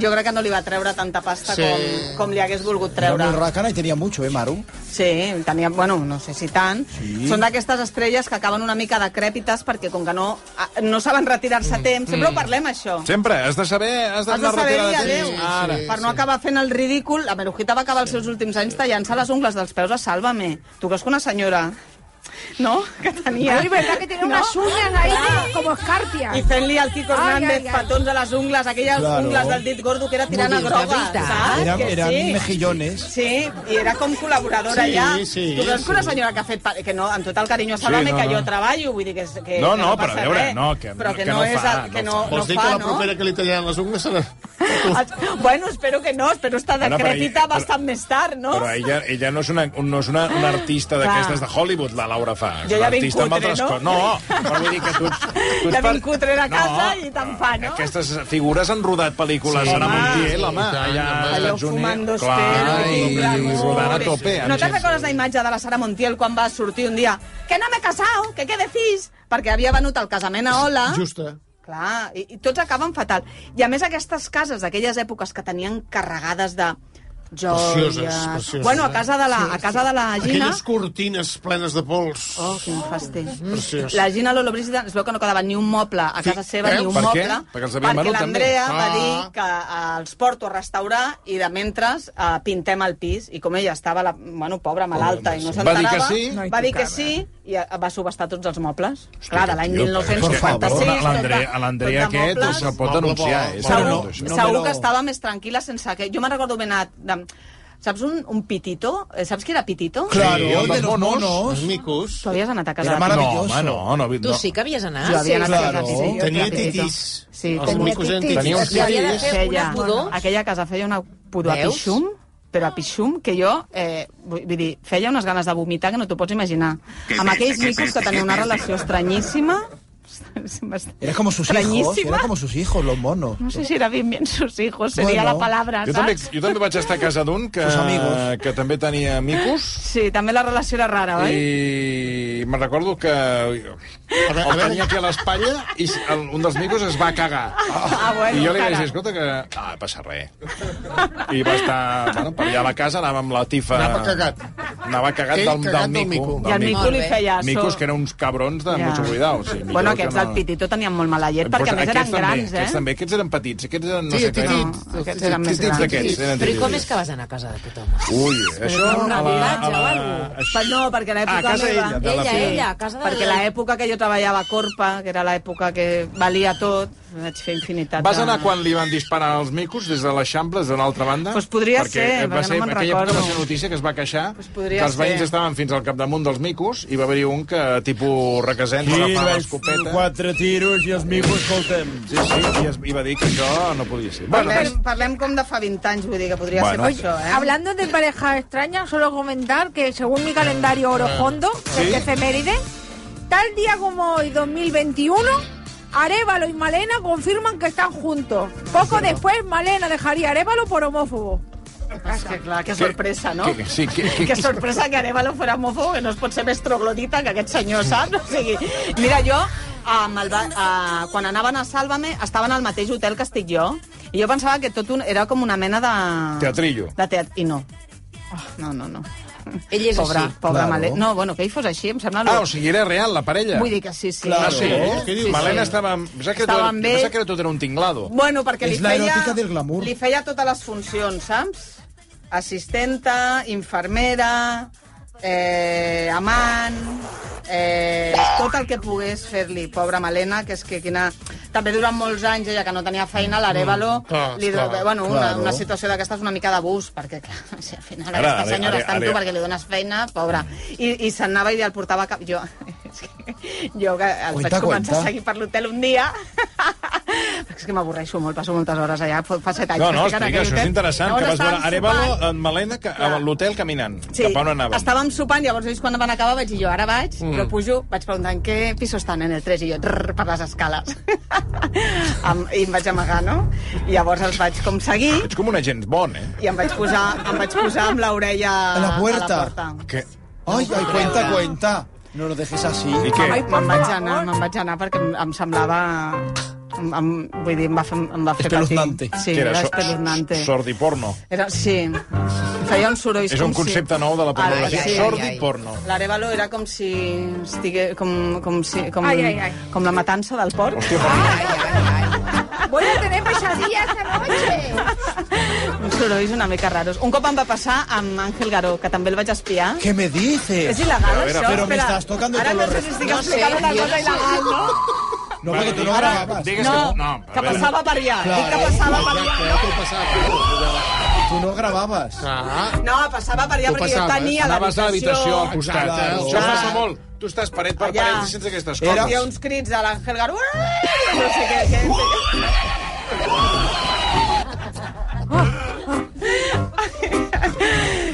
Speaker 2: jo crec que no li va treure tanta pasta
Speaker 3: Sí.
Speaker 2: com, com li hagués volgut
Speaker 4: Era
Speaker 2: treure.
Speaker 4: muy rácana y tenía mucho, ¿eh, Maru?
Speaker 2: Sí, tenia, bueno, no sé si tant. Sí. Són d'aquestes estrelles que acaben una mica decrèpites perquè com que no, a- no saben retirar-se
Speaker 4: Mm,
Speaker 2: a temps, sempre ho parlem això.
Speaker 1: Sempre, has de saber... Has de,
Speaker 2: Has de saber dir
Speaker 1: retirar de
Speaker 2: adéu,
Speaker 1: temps. Ara.
Speaker 2: per no acabar fent el ridícul. La Marujita va acabar els seus últims anys tallant-se les ungles dels peus a Sálvame. Tu creus que una senyora... No? Que tenia...
Speaker 7: Ay, verdad que tiene unas uñas ahí como- como escarpias.
Speaker 2: I fent-li al Quico
Speaker 7: Ai,
Speaker 2: Hernández
Speaker 7: ai, ai.
Speaker 2: petons a les ungles, aquelles
Speaker 4: Claro.
Speaker 2: ungles del dit gordo que era tirant a
Speaker 6: Molt bé, de
Speaker 2: groga,
Speaker 6: veritat.
Speaker 2: saps?
Speaker 4: Era-
Speaker 2: Ah, Que
Speaker 4: eran
Speaker 2: sí.
Speaker 4: mejillones.
Speaker 2: Sí, i era com col·laboradora
Speaker 3: Sí,
Speaker 2: ja.
Speaker 3: sí,
Speaker 2: tu creus que una
Speaker 3: sí.
Speaker 2: senyora que ha fet... pa- Que no, amb tot el carinyo a Salvame,
Speaker 1: no,
Speaker 2: que jo
Speaker 1: no.
Speaker 2: treballo, vull dir que... és- que
Speaker 1: No,
Speaker 2: que
Speaker 1: no, però
Speaker 2: passa
Speaker 1: a veure,
Speaker 2: res,
Speaker 1: no, que-
Speaker 2: però que,
Speaker 1: que
Speaker 2: no,
Speaker 1: no
Speaker 2: és...
Speaker 1: fa,
Speaker 2: el- que
Speaker 1: no
Speaker 2: no,
Speaker 1: fa.
Speaker 2: no
Speaker 3: Vols dir
Speaker 2: fa,
Speaker 3: que la
Speaker 2: no?
Speaker 3: propera que li tallaran les ungles serà...
Speaker 2: El- Bueno, espero que no, espero estar
Speaker 1: Bueno, però
Speaker 2: decrèpita
Speaker 1: ell- però-
Speaker 2: bastant més tard, no?
Speaker 1: Però ella, ella no és una, un- no és una, una artista
Speaker 2: Clar.
Speaker 1: d'aquestes de Hollywood, la Laura fa. És
Speaker 2: Jo
Speaker 1: una
Speaker 2: ja vinc
Speaker 1: artista amb
Speaker 2: cutre,
Speaker 1: altres
Speaker 2: no?
Speaker 1: coses. No, però vull dir que tu... ets- tu ets
Speaker 2: Ja vinc cutre de casa i te'n fa, no?
Speaker 1: Aquestes figures han rodat pel·lícules.
Speaker 3: Sí,
Speaker 1: Sí, Sara
Speaker 2: home.
Speaker 1: Montiel, home,
Speaker 3: Sí,
Speaker 1: allà
Speaker 3: i tant,
Speaker 1: als
Speaker 3: home.
Speaker 2: Allò
Speaker 1: Estats
Speaker 2: fumant
Speaker 1: Units.
Speaker 2: dos peros,
Speaker 1: i,
Speaker 2: i
Speaker 1: rodant a tope. amb
Speaker 2: No te'n
Speaker 1: gent.
Speaker 2: recordes la imatge de la Sara Montiel quan va sortir un dia que no m'he casat, que què decís? Perquè havia venut el casament a Ola.
Speaker 3: Justa.
Speaker 2: Clar, i, i tots acaben fatal. I a més aquestes cases d'aquelles èpoques que tenien carregades de joies...
Speaker 3: Precioses, precioses.
Speaker 2: Bueno, a casa de la, a casa de la Gina...
Speaker 3: Aquelles cortines plenes de pols.
Speaker 2: Oh, quin fastí.
Speaker 3: Preciós.
Speaker 2: La Gina Lollobrigida es veu que no quedava ni un moble a casa
Speaker 3: Sí,
Speaker 2: seva,
Speaker 3: eh?
Speaker 2: ni un
Speaker 1: Per què?
Speaker 2: moble.
Speaker 1: Perquè els havien venut, també.
Speaker 2: l'Andrea va
Speaker 3: Ah.
Speaker 2: dir que eh, els porto a restaurar i de mentre eh, pintem el pis. I com ella estava, la, bueno, pobra, malalta, i no
Speaker 1: Va dir
Speaker 2: s'enterava,
Speaker 1: que sí.
Speaker 2: va dir que sí i eh, va subestar tots els mobles. Clar, de l'any
Speaker 1: Tio, per
Speaker 2: 1956...
Speaker 1: favor,
Speaker 2: tot de-
Speaker 1: l'Andrea- a l'Andrea
Speaker 2: tot de
Speaker 1: aquest
Speaker 2: mobles.
Speaker 1: se'l pot
Speaker 3: Moble
Speaker 1: denunciar.
Speaker 3: bo,
Speaker 1: és
Speaker 3: bo.
Speaker 2: Segur,
Speaker 1: tot
Speaker 2: no,
Speaker 4: no,
Speaker 1: això.
Speaker 4: no
Speaker 2: segur
Speaker 4: me lo-
Speaker 2: que estava més tranquil·la sense que... Jo me'n recordo ben anat... De... Saps un, un pitito? Eh, Saps qui era pitito?
Speaker 4: Claro,
Speaker 1: el
Speaker 4: Eh, de
Speaker 1: dels
Speaker 4: los
Speaker 1: monos.
Speaker 4: monos.
Speaker 3: Els micos.
Speaker 2: Tu havies anat a casa
Speaker 4: Era
Speaker 2: de
Speaker 1: No,
Speaker 4: maravilloso.
Speaker 1: home, no, no.
Speaker 6: Tu
Speaker 1: no.
Speaker 6: sí que havies anat?
Speaker 2: Jo havia anat a
Speaker 4: claro.
Speaker 2: casa, sí, sí, jo
Speaker 3: Tenia
Speaker 2: era petitó.
Speaker 3: titis.
Speaker 2: Sí,
Speaker 3: Els
Speaker 2: tenia
Speaker 3: micos eren titis.
Speaker 1: Tenia uns
Speaker 6: I havia de
Speaker 1: titis.
Speaker 6: fer una
Speaker 2: Feia,
Speaker 6: pudor?
Speaker 2: aquella casa feia una pudor a
Speaker 6: Veus?
Speaker 2: pixum, però a pixum, que jo, eh, vull vull dir, feia unes ganes de vomitar que no t'ho pots imaginar. Amb aquells micos que tenia una relació estranyíssima...
Speaker 4: Era como sus hijos.
Speaker 2: Estranyíssima.
Speaker 4: Era como sus hijos, los monos.
Speaker 2: No sé si era bien bien sus hijos, seria
Speaker 4: Bueno.
Speaker 2: la palabra,
Speaker 1: Jo
Speaker 2: saps?
Speaker 1: també, jo també vaig estar a casa d'un que,
Speaker 4: Sus amigos.
Speaker 1: que també tenia micos
Speaker 2: Sí, també la relació era rara, oi?
Speaker 1: i me recordo que
Speaker 3: A veure,
Speaker 1: el
Speaker 3: a veure.
Speaker 1: tenia aquí a l'espatlla i el, un dels micos es va cagar.
Speaker 2: Ah, bueno,
Speaker 1: I jo li vaig
Speaker 2: cara.
Speaker 1: dir, escolta, que... Ah, passa res. I va estar... Bueno, per allà a la casa anava amb la tifa...
Speaker 3: Anava cagat.
Speaker 1: Anava cagat
Speaker 3: Ell
Speaker 1: del,
Speaker 3: cagat
Speaker 1: del,
Speaker 3: del
Speaker 1: mico.
Speaker 3: mico.
Speaker 2: I el mico li
Speaker 6: Molt bé.
Speaker 2: feia... so-
Speaker 1: Micos que eren uns cabrons de
Speaker 2: Ja.
Speaker 1: mucho cuidado. O sigui, micos
Speaker 2: Bueno,
Speaker 1: que
Speaker 2: aquests
Speaker 1: no-
Speaker 2: del Pitito tenien molt mala llet, perquè a més eren
Speaker 1: aquests també,
Speaker 2: grans, eh?
Speaker 1: Aquests també, aquests eren petits, aquests eren... No
Speaker 3: Sí,
Speaker 1: sé què eren.
Speaker 3: titits.
Speaker 2: Aquests eren més
Speaker 1: Titits
Speaker 2: grans.
Speaker 1: d'aquests. eren
Speaker 6: Però i com
Speaker 1: titits.
Speaker 6: és que vas anar a casa de tothom?
Speaker 1: Ui, això...
Speaker 6: Però un
Speaker 1: a la- a
Speaker 6: habitatge o
Speaker 1: la-
Speaker 6: alguna cosa?
Speaker 2: Però no, perquè
Speaker 1: A
Speaker 2: l'època
Speaker 1: casa
Speaker 2: meva...
Speaker 1: ella, de la
Speaker 6: Ella,
Speaker 1: fi.
Speaker 6: ella, a casa de...
Speaker 2: Perquè l'època que jo treballava a Corpa, que era l'època que valia tot, vaig fer infinitat
Speaker 1: Vas anar
Speaker 2: de...
Speaker 1: quan li van disparar els micos des de l'Eixample, des d'una altra banda?
Speaker 2: Pues podria
Speaker 1: perquè
Speaker 2: ser,
Speaker 1: eh, va
Speaker 2: perquè no
Speaker 1: ser
Speaker 2: me'n
Speaker 1: aquella
Speaker 2: recordo.
Speaker 1: Va ser notícia que es va queixar
Speaker 2: Pues podria
Speaker 1: que els veïns estaven fins al capdamunt dels micos i va haver-hi un que, tipus requesent, va agafar l'escopeta
Speaker 8: quatre tiros i els micos, escolta'm.
Speaker 1: sí, sí, i, es, i va dir que això no podia ser. Bueno, doncs,
Speaker 2: Parlem, parlem com de fa 20 anys, vull dir que podria
Speaker 1: Bueno.
Speaker 2: ser per això, eh?
Speaker 7: Hablando de parejas extrañas, solo comentar que según mi calendario Orojondo, que es de efeméride, tal día como hoy, 2021, Arevalo y Malena confirman que están juntos. Poco después, Malena dejaría a Arevalo por homófobo.
Speaker 2: És que, clar, que sorpresa, no?
Speaker 1: que- sí, que- que-
Speaker 2: que sorpresa que Arevalo fora homòfob, que no es pot ser més troglodita que aquest senyor, saps? O sigui, mira, jo, amb el, va- a, quan anaven a Sálvame, estaven al mateix hotel que estic jo, i jo pensava que tot un, era com una mena de...
Speaker 1: Teatrillo.
Speaker 2: De teat... I no. Oh, no, no, no.
Speaker 6: Ell és
Speaker 2: Pobre,
Speaker 6: així.
Speaker 2: pobre
Speaker 4: Claro.
Speaker 2: Malé. No, bueno, que ell fos així, em sembla... lo-
Speaker 1: Ah, o sigui, era real, la parella.
Speaker 2: Vull dir que sí, sí.
Speaker 1: Ah, sí?
Speaker 2: Sí, sí.
Speaker 1: Malena estava... amb- Pensava que, tot,
Speaker 2: Estaven bé.
Speaker 1: pensava que era tot era un tinglado.
Speaker 2: Bueno, perquè li
Speaker 4: És la
Speaker 2: feia...
Speaker 4: eròtica del glamour.
Speaker 2: Li feia totes les funcions, saps? Assistenta, infermera, eh, amant... Eh, tot el que pogués fer-li, pobra Malena, que és que quina... També durant molts anys, ella que no tenia feina, l'Arevalo...
Speaker 3: clar,
Speaker 2: li
Speaker 3: clar,
Speaker 2: bueno, una,
Speaker 4: claro.
Speaker 2: una situació d'aquesta és una mica d'abús, perquè, clar, si al final
Speaker 1: Ara,
Speaker 2: aquesta
Speaker 1: are-
Speaker 2: senyora
Speaker 1: are-
Speaker 2: està amb
Speaker 1: are-
Speaker 2: tu perquè li dones feina, pobra. I, i se'n anava i el portava cap... Jo, és que, jo que el
Speaker 4: Aguanta,
Speaker 2: vaig començar
Speaker 4: aguanta.
Speaker 2: a seguir per l'hotel un dia. és que m'avorreixo molt, passo moltes hores allà. Fa, fa set anys
Speaker 1: No, no,
Speaker 2: que estic
Speaker 1: explica,
Speaker 2: en aquell
Speaker 1: això és
Speaker 2: hotel.
Speaker 1: interessant, que vas
Speaker 2: Llavors
Speaker 1: veure
Speaker 2: estàvem
Speaker 1: Arevalo
Speaker 2: sopant.
Speaker 1: en Malena que, a
Speaker 2: Clar.
Speaker 1: l'hotel caminant, cap a on Mm. anaven.
Speaker 2: estàvem sopant, llavors ells quan van acabar vaig dir jo, ara vaig, però pujo, vaig preguntar en què piso estan en el 3 i jo, trrr, per les escales. Em- I em vaig amagar, no? I llavors els vaig com seguir
Speaker 1: Ets com un agent bon, eh?
Speaker 2: i em vaig posar, em vaig posar amb l'orella
Speaker 4: A la
Speaker 2: a la
Speaker 4: puerta.
Speaker 2: porta.
Speaker 1: Que...
Speaker 4: Ay, ay,
Speaker 2: Ah.
Speaker 4: cuenta, cuenta. No lo dejes así.
Speaker 1: I què?
Speaker 7: Ai,
Speaker 2: Me'n vaig
Speaker 7: favor.
Speaker 2: anar, me'n vaig anar perquè em, em semblava... Em, em, vull dir, em va fer, em va fer
Speaker 4: Espeluznante.
Speaker 2: patir. Sí,
Speaker 1: que
Speaker 2: era
Speaker 1: so-
Speaker 2: espeluznante.
Speaker 1: Sordi porno.
Speaker 2: Era, sí, feia un soroll.
Speaker 1: És un
Speaker 2: com
Speaker 1: concepte nou de la pornografia.
Speaker 2: Ai, ai, ai,
Speaker 1: Sordi
Speaker 6: ai.
Speaker 1: porno.
Speaker 2: L'Arevalo era com si estigué... Com, com, si, com,
Speaker 7: Ai, ai, ai.
Speaker 2: com la matança del porc.
Speaker 1: Hòstia, però...
Speaker 7: Voy a tener pesadillas esta noche.
Speaker 2: Uns sorolls una mica raros. Un cop em va passar amb Àngel Garó, que també el vaig espiar.
Speaker 4: ¿Qué me dices?
Speaker 2: És il·legal,
Speaker 1: A veure,
Speaker 2: això?
Speaker 4: però
Speaker 2: Espera.
Speaker 4: m'estàs tocando
Speaker 2: Ara
Speaker 4: todo
Speaker 2: no
Speaker 4: el
Speaker 2: sé
Speaker 4: resto.
Speaker 2: si estic
Speaker 6: No sé,
Speaker 2: explicant una
Speaker 6: jo
Speaker 2: cosa
Speaker 6: no sé.
Speaker 2: il·legal, no?
Speaker 4: No, porque tú no grababas.
Speaker 1: Digues
Speaker 2: No,
Speaker 1: que no. No, a
Speaker 2: que
Speaker 1: veure. eh,
Speaker 2: passava per allà.
Speaker 4: Claro.
Speaker 2: Dic que passava per allà.
Speaker 4: Tú no grababas.
Speaker 3: Ah,
Speaker 2: No, passava per allà
Speaker 3: Ho
Speaker 2: perquè jo
Speaker 3: passava,
Speaker 2: tenia
Speaker 1: Anaves a l'habitació al
Speaker 3: habitació.
Speaker 1: costat. eh?
Speaker 4: Exacte.
Speaker 1: Això
Speaker 2: Clar.
Speaker 1: passa molt. Tu estàs paret per
Speaker 2: Allà.
Speaker 1: paret i sents aquestes
Speaker 2: Hi
Speaker 4: Era-
Speaker 2: ha
Speaker 1: coses.
Speaker 2: uns crits de l'Àngel Garó. "Uah!" No sé què, què.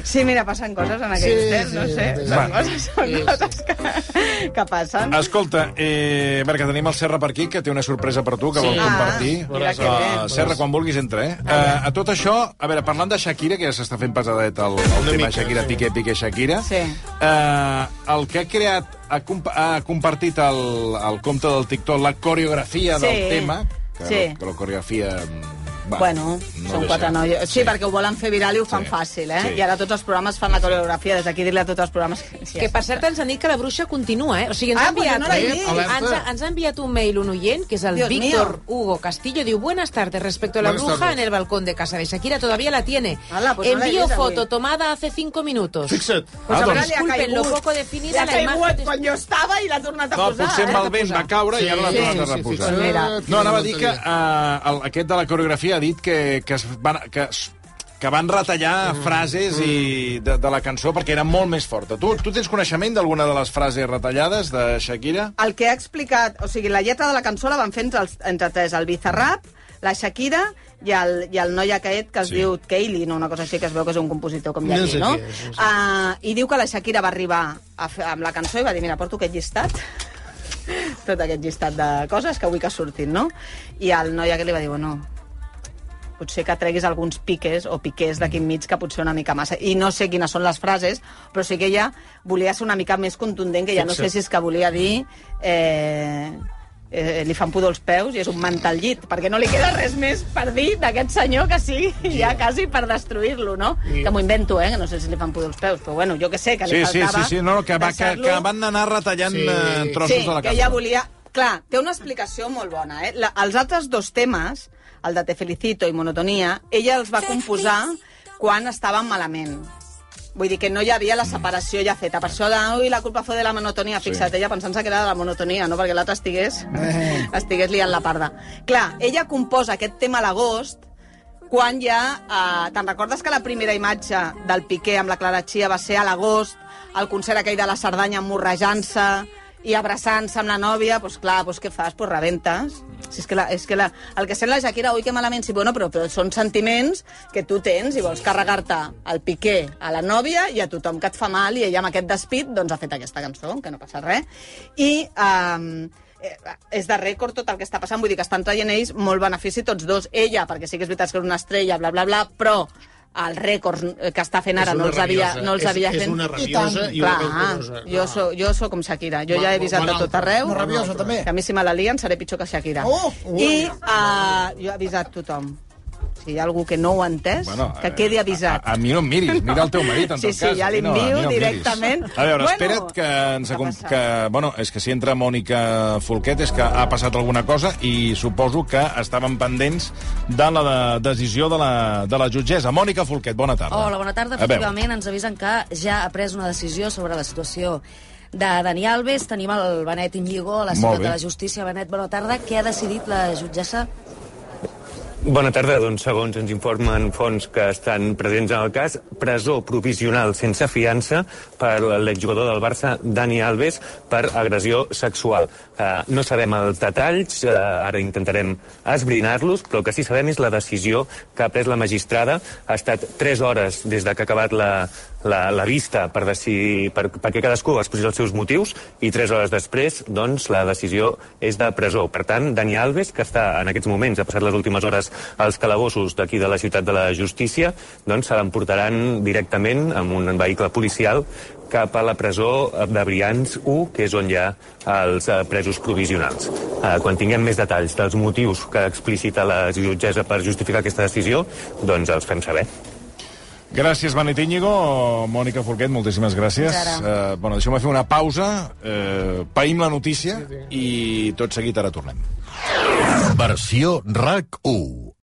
Speaker 2: Sí, mira, passen coses en aquells sí, temps, no sé. Sí, són
Speaker 1: Va.
Speaker 2: coses, són coses que, que passen.
Speaker 1: Escolta, eh, a veure, que tenim el Serra per aquí, que té una sorpresa per tu, que vol compartir.
Speaker 2: Ah, mira que
Speaker 1: Eh,
Speaker 2: bé.
Speaker 1: Serra, quan vulguis, entra, eh? eh? A tot això, a veure, parlant de Shakira, que ja s'està fent pesadet el, el tema Shakira, Piqué, Piqué, Shakira,
Speaker 2: Sí.
Speaker 1: eh, el que ha creat, ha, comp ha compartit el, el compte del TikTok, la coreografia
Speaker 2: Sí.
Speaker 1: del tema, que,
Speaker 2: Sí.
Speaker 1: que la coreografia... Va,
Speaker 2: Bueno, són
Speaker 1: deixa.
Speaker 2: quatre noies. Sí, perquè ho volen fer viral i ho fan
Speaker 1: Sí.
Speaker 2: fàcil, eh?
Speaker 1: Sí.
Speaker 2: I ara tots els programes fan la coreografia. Des d'aquí dir-li a tots els programes... Sí,
Speaker 6: Que per cert ens han dit que la bruixa continua, eh? O sigui, ens,
Speaker 2: Ah,
Speaker 6: ha, enviat,
Speaker 2: perquè no l'he
Speaker 6: eh,
Speaker 2: vist.
Speaker 6: ens, ha- ens ha enviat un mail un oient, que és el
Speaker 2: Dios
Speaker 6: Víctor
Speaker 2: mío.
Speaker 6: Hugo Castillo, diu, buenas tardes, respecto a la
Speaker 3: Buenas
Speaker 6: bruja
Speaker 3: tardes.
Speaker 6: en el balcón de casa de Shakira, todavía la tiene.
Speaker 2: Ala, pues no l'he
Speaker 6: Envío
Speaker 2: vist avui.
Speaker 6: foto tomada hace cinco minutos.
Speaker 3: fixa't.
Speaker 1: Ah,
Speaker 2: Ara
Speaker 1: doncs,
Speaker 2: li ha
Speaker 6: disculpen lo
Speaker 2: caigut.
Speaker 6: poco definida
Speaker 2: Li ha
Speaker 6: la
Speaker 2: caigut
Speaker 6: imagen.
Speaker 2: quan jo estava i l'ha tornat a
Speaker 1: no,
Speaker 2: posar.
Speaker 1: potser amb
Speaker 2: eh?
Speaker 1: el vent va caure i ara l'ha
Speaker 3: Sí,
Speaker 1: tornat a
Speaker 3: sí, sí,
Speaker 1: reposar.
Speaker 3: fixa't.
Speaker 2: Mira.
Speaker 1: No, anava a dir que eh, el, aquest de la coreografia ha dit que, que, es van, que, es- que van retallar frases i de, de la cançó perquè era molt més forta. Tu, tu tens coneixement d'alguna de les frases retallades de Shakira?
Speaker 2: el que ha explicat, o sigui, la lletra de la cançó la van fer entre, els, entre tres, el Bizarrap, la Shakira i el, i el noi aquest que es
Speaker 1: Sí.
Speaker 2: sí. diu Keilin, no, una cosa així que es veu que és un compositor com
Speaker 3: No
Speaker 2: llatí,
Speaker 3: sé
Speaker 2: no?
Speaker 3: qui és, no sé.
Speaker 2: Ah, I diu que la Shakira va arribar a fer, amb la cançó i va dir, mira, porto aquest llistat, tot aquest llistat de coses que vull que surtin, no? I el noi aquest li va dir, bueno, potser que treguis alguns piques o piquers d'aquí enmig que potser una mica massa. I no sé quines són les frases, però sí que ella volia ser una mica més contundent, que ja no sé si és que volia dir... Eh, eh, li fan pudor els peus i és un mantal llit, perquè no li queda res més per dir d'aquest senyor que sigui ja quasi per destruir-lo, no? Que m'ho invento, eh? Que no sé si li fan pudor els peus, però bueno, jo que sé, que li
Speaker 1: Sí, sí, sí,
Speaker 2: faltava...
Speaker 1: sí, no, que, va, que,
Speaker 2: deixar-lo-
Speaker 1: que van anar retallant sí. trossos
Speaker 2: sí,
Speaker 1: de la
Speaker 2: que ella
Speaker 1: cançó.
Speaker 2: volia... Clar, té una explicació molt bona, eh? La, els altres dos temes, el de Te Felicito i Monotonia, ella els va composar quan estaven malament. Vull dir que no hi havia la separació ja feta. Per això de, ui, la culpa fou de la monotonia. Fixa't, ella pensant-se que era de la monotonia, no? Perquè l'altre
Speaker 1: Eh.
Speaker 2: estigués, estigués liant la parda. Clar, ella composa aquest tema a l'agost, quan ja... Eh, Te'n recordes que la primera imatge del Piqué amb la Clara Chia va ser a l'agost, al concert aquell de la Cerdanya emmorrejant-se i abraçant-se amb la nòvia, doncs clar, doncs què fas? Doncs rebentes. Si és que, la, és que la, el que sent la Shakira, ui, que malament, sí, bueno, però, però són sentiments que tu tens i vols carregar-te el Piqué a la nòvia i a tothom que et fa mal i ella amb aquest despit doncs ha fet aquesta cançó, que no passa res. I... Eh, eh, és de rècord tot el que està passant, vull dir que estan traient ells molt benefici tots dos, ella, perquè sí que és veritat que és una estrella, bla, bla, bla, però el rècord eh, que està fent ara
Speaker 3: És
Speaker 2: no
Speaker 3: una
Speaker 2: els havia,
Speaker 3: rabiosa.
Speaker 2: no els
Speaker 3: És-
Speaker 2: havia
Speaker 3: és
Speaker 2: fent...
Speaker 3: una rabiosa i una ventosa.
Speaker 2: jo,
Speaker 3: No.
Speaker 2: sóc, jo sóc com Shakira, jo
Speaker 3: Una-
Speaker 2: ja he avisat
Speaker 3: una
Speaker 2: de tot
Speaker 3: altra.
Speaker 2: arreu.
Speaker 4: Una rabiosa, també.
Speaker 2: Que a mi si me la lien seré pitjor que Shakira.
Speaker 4: Oh!
Speaker 2: I uh, jo he avisat tothom. Si hi ha algú que no ho ha entès,
Speaker 1: Bueno, eh,
Speaker 2: que
Speaker 3: eh,
Speaker 2: quedi avisat.
Speaker 1: A, a, a mi no em miris, mira el teu marit, en
Speaker 2: Sí,
Speaker 1: tot
Speaker 2: sí,
Speaker 1: cas.
Speaker 2: ja
Speaker 1: a mi no- a mi
Speaker 2: l'envio
Speaker 1: no em miris.
Speaker 2: directament.
Speaker 1: A veure,
Speaker 2: Bueno,
Speaker 1: espera't que ens...
Speaker 2: què
Speaker 1: acom-
Speaker 2: passa?
Speaker 1: Que, bueno, és que si entra Mònica Folquet és que ha passat alguna cosa i suposo que estaven pendents de la de- decisió de la, de la jutgessa. Mònica Folquet, bona tarda.
Speaker 9: Hola, bona tarda.
Speaker 1: A veure,
Speaker 9: Efectivament, ens avisen que ja ha pres una decisió sobre la situació de Dani Alves. Tenim el Benet Iñigo, a la
Speaker 1: Molt
Speaker 9: ciutat
Speaker 1: bé.
Speaker 9: de la justícia. Benet, bona tarda. Què ha decidit la jutgessa?
Speaker 10: Bona tarda. Doncs, segons ens informen fons que estan presents en el cas, presó provisional sense fiança per l'exjugador del Barça, Dani Alves, per agressió sexual. Eh, no sabem els detalls, eh, ara intentarem esbrinar-los, però el que sí que sabem és la decisió que ha pres la magistrada. Ha estat tres hores des de que ha acabat la, la, la vista per decidir per, perquè cadascú ha exposat els seus motius i tres hores després doncs, la decisió és de presó. Per tant, Dani Alves, que està en aquests moments, ha passat les últimes hores als calabossos d'aquí de la ciutat de la justícia, doncs se l'emportaran directament amb un vehicle policial cap a la presó de Brians 1, que és on hi ha els eh, presos provisionals. Eh, Quan tinguem més detalls dels motius que explicita la jutgessa per justificar aquesta decisió, doncs els fem saber.
Speaker 1: Gràcies, Benet Íñigo. Mònica Forquet, moltíssimes gràcies.
Speaker 9: Fins
Speaker 1: Eh, bueno, deixeu-me fer una pausa, eh, païm la notícia i tot seguit ara tornem.
Speaker 11: Versió RAC 1.